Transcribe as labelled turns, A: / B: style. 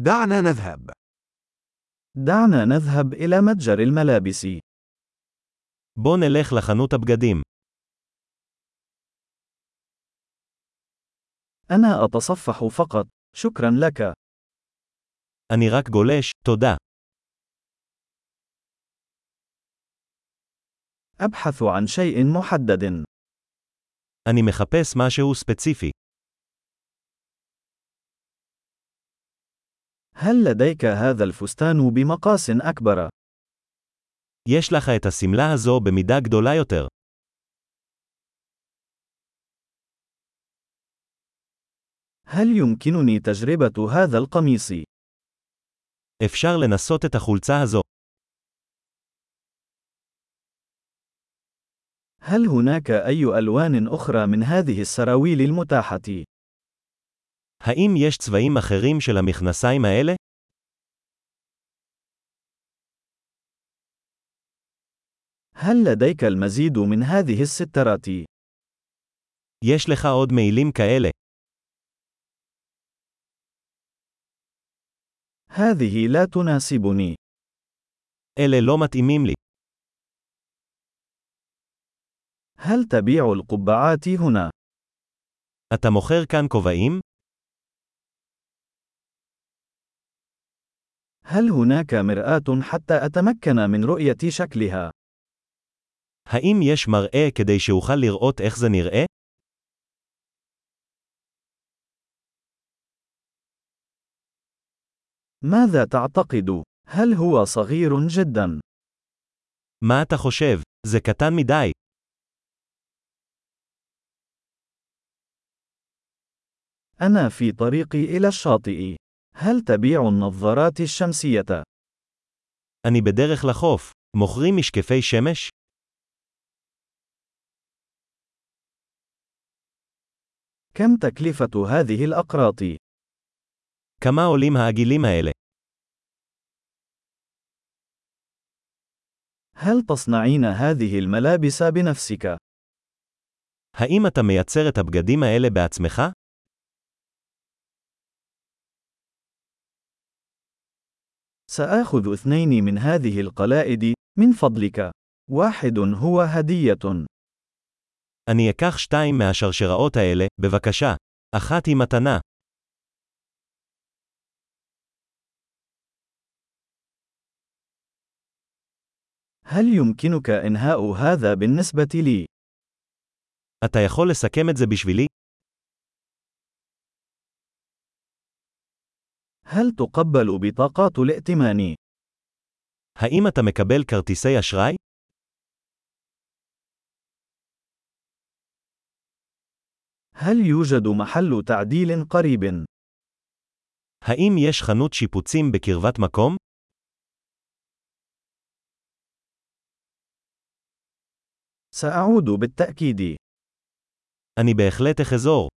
A: دعنا نذهب.
B: دعنا نذهب إلى متجر الملابس.
C: בוא נלך לחנות הבגדים.
B: أنا أتصفح فقط. شكرا لك.
C: אני רק גולש, תודה.
B: أبحث عن شيء محدد.
C: אני מחפש משהו ספציפי.
B: هل لديك هذا الفستان بمقاس أكبر؟
C: יש לך את השמלה הזו במידה גדולה יותר.
B: هل يمكنني تجربة هذا القميص؟
C: אפשר לנסות את החולצה הזו.
B: هل هناك أي ألوان أخرى من هذه السراويل المتاحة؟
C: האם יש צבעים אחרים של המכנסיים האלה?
B: هل لديك المزيد من هذه السترات؟
C: יש לך עוד מעילים כאלה.
B: هذه لا تناسبني.
C: אלה לא מתאימים לי.
B: هل تبيع القبعات هنا؟
C: אתה מוכר כאן כובעים?
B: هل هناك مرآة حتى أتمكن من رؤية شكلها؟
C: האם יש מראה כדי שאוכל לראות איך זה נראה?
B: ماذا تعتقد؟ هل هو صغير جدا؟
C: מה אתה חושב? זה קטן מדי.
B: أنا في طريقي إلى الشاطئ. هل تبيع النظارات الشمسية؟
C: אני בדרך לחוף. מוכרים משקפי שמש?
B: كم تكلفة هذه الأقراط؟
C: כמה עולים העגילים האלה?
B: هل تصنعين هذه الملابس بنفسك؟
C: האם אתה מייצר את הבגדים האלה בעצמך?
B: سآخذ اثنين من هذه القلائد، من فضلك. واحد هو هدية.
C: אני אקח שתיים מהשרשראות האלה, בבקשה. אחת היא מתנה.
B: هل يمكنك إنهاء هذا بالنسبة لي؟
C: אתה יכול לסכם את זה בשבילי?
B: هل تقبل بطاقات الائتمان؟
C: האם אתה מקבל כרטיסי אשראי?
B: هل يوجد محل تعديل قريب؟
C: האם יש חנות שיפוצים בקרבת מקום?
B: سأعود بالتأكيد.
C: אני בהחלט אחזור.